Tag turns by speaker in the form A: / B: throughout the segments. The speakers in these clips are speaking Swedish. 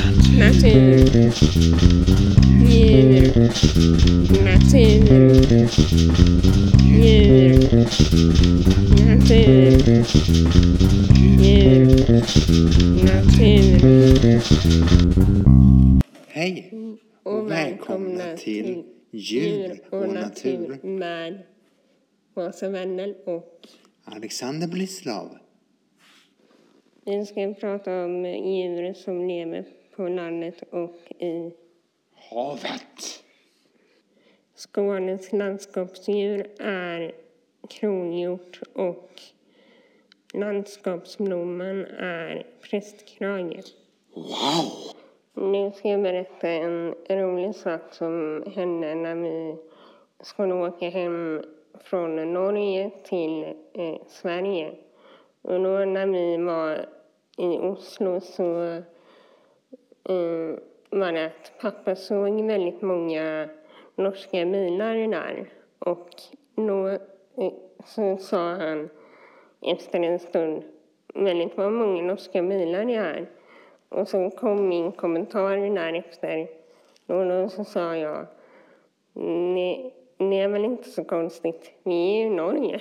A: Nothing. Yeah. Nothing. Yeah. Nothing. Yeah. Nothing.
B: Hej
A: Och välkomna till Djur och natur med Vasa vänner och
B: Alexander Blislav.
A: vi ska prata om djur som lever på landet och i
B: Havet.
A: Skånes landskapsdjur är kronhjort och landskapsblomman är prästkrage.
B: Wow!
A: Nu ska jag berätta en rolig sak som hände när vi skulle åka hem från Norge till eh, Sverige. Och då när vi var i Oslo så eh, var det att pappa såg väldigt många norska bilar där. Och då eh, så sa han efter en stund väldigt vad många norska bilar det är. Och så kom min kommentar därefter. Och då så sa jag, nej, det är väl inte så konstigt, vi är ju Norge.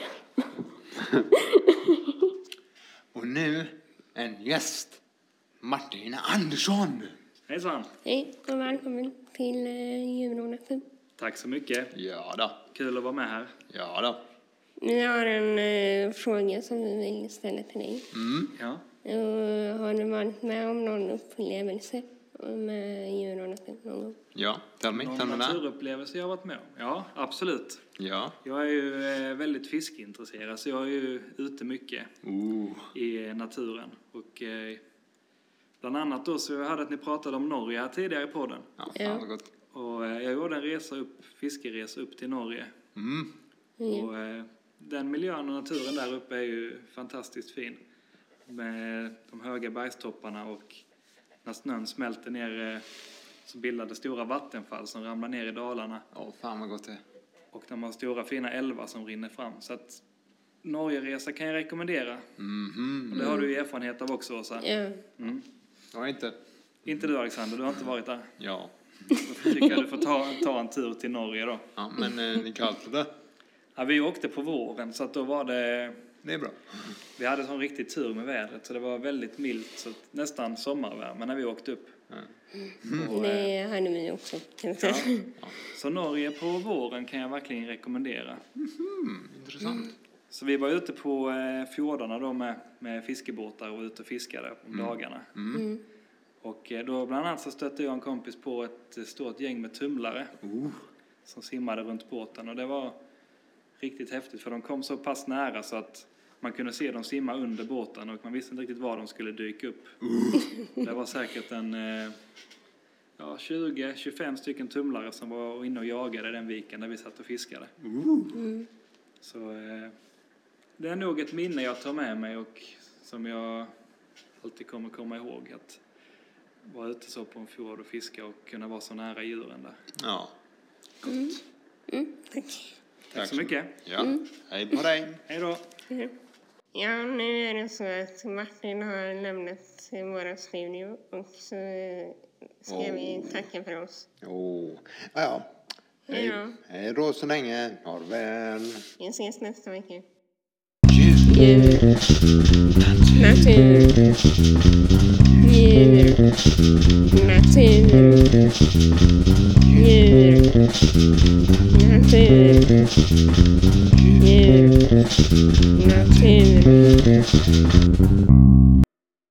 B: Och nu en gäst. Martina Andersson.
C: Hejsan!
A: Hej och välkommen till eh, Djurhornet.
C: Tack så mycket.
B: Ja då.
C: Kul att vara med här.
B: Ja då.
A: Vi har en eh, fråga som vi vill ställa till dig.
C: Ja.
A: Eh, har du varit med om någon upplevelse med Djurhornet någon gång?
B: Ja, tell me, tell me
C: Någon
B: that.
C: naturupplevelse jag har varit med om? Ja, absolut.
B: Ja.
C: Jag är ju eh, väldigt fiskintresserad så jag är ju ute mycket
B: Ooh.
C: i eh, naturen. Och eh, bland annat då så hörde jag att ni pratade om Norge här tidigare i podden.
B: Ja,
A: Ja.
B: fan vad gott.
C: Och eh, jag gjorde en resa upp, fiskeresa upp till Norge.
B: Mm.
C: Och eh, den miljön och naturen där uppe är ju fantastiskt fin. Med de höga bergstopparna och när snön smälter ner eh, så bildar det stora vattenfall som ramlar ner i dalarna.
B: Åh, fan vad gott det är.
C: Och de har stora fina älvar som rinner fram. Så att Norgeresa kan jag rekommendera.
B: Mhm.
C: Och det har du ju erfarenhet av också Åsa.
A: Ja.
C: Mm.
B: Jag är inte...
C: Inte du Alexander, du har inte varit där.
B: Ja.
C: Då tycker jag du får ta, ta en tur till Norge då.
B: Ja, men eh, ni kallar det.
C: Ja, vi åkte på våren så att då var det
B: Det är bra.
C: Vi hade sån riktig tur med vädret så det var väldigt milt, så att nästan sommarvärme när vi åkte upp.
A: Mm.
C: Och, eh,
A: Det hade vi också kan jag säga.
C: ja. Så Norge på våren kan jag verkligen rekommendera.
B: Mm, Intressant.
C: Så vi var ute på eh, fjordarna då med, med fiskebåtar och ute och fiskade om dagarna.
A: Mm.
C: Och eh, då bland annat så stötte jag en kompis på ett eh, stort gäng med tumlare
B: Ooh.
C: som simmade runt båten och det var riktigt häftigt för de kom så pass nära så att man kunde se dem simma under båten och man visste inte riktigt var de skulle dyka upp. Det var säkert en eh, ja, 20-25 stycken tumlare som var inne och jagade i den viken där vi satt och fiskade. Så eh, det är nog ett minne jag tar med mig och som jag alltid kommer komma ihåg att vara ute så på en fjord och fiska och kunna vara så nära djuren där.
B: Ja.
A: Mm,
C: Tack så mycket.
B: Ja. Hej på dig.
C: Hej då.
A: Ja, nu är det så att Martin har lämnat vår studio och så eh, ska
B: Åh.
A: vi tacka för oss.
B: Jo, ja, ja.
A: Hej då.
B: Hej då så länge. Farväl.
A: Vi ses nästa vecka.
B: Tjus.
A: Djur. Natur. Djur. Natur. Djur. Natur. Djur. Natur.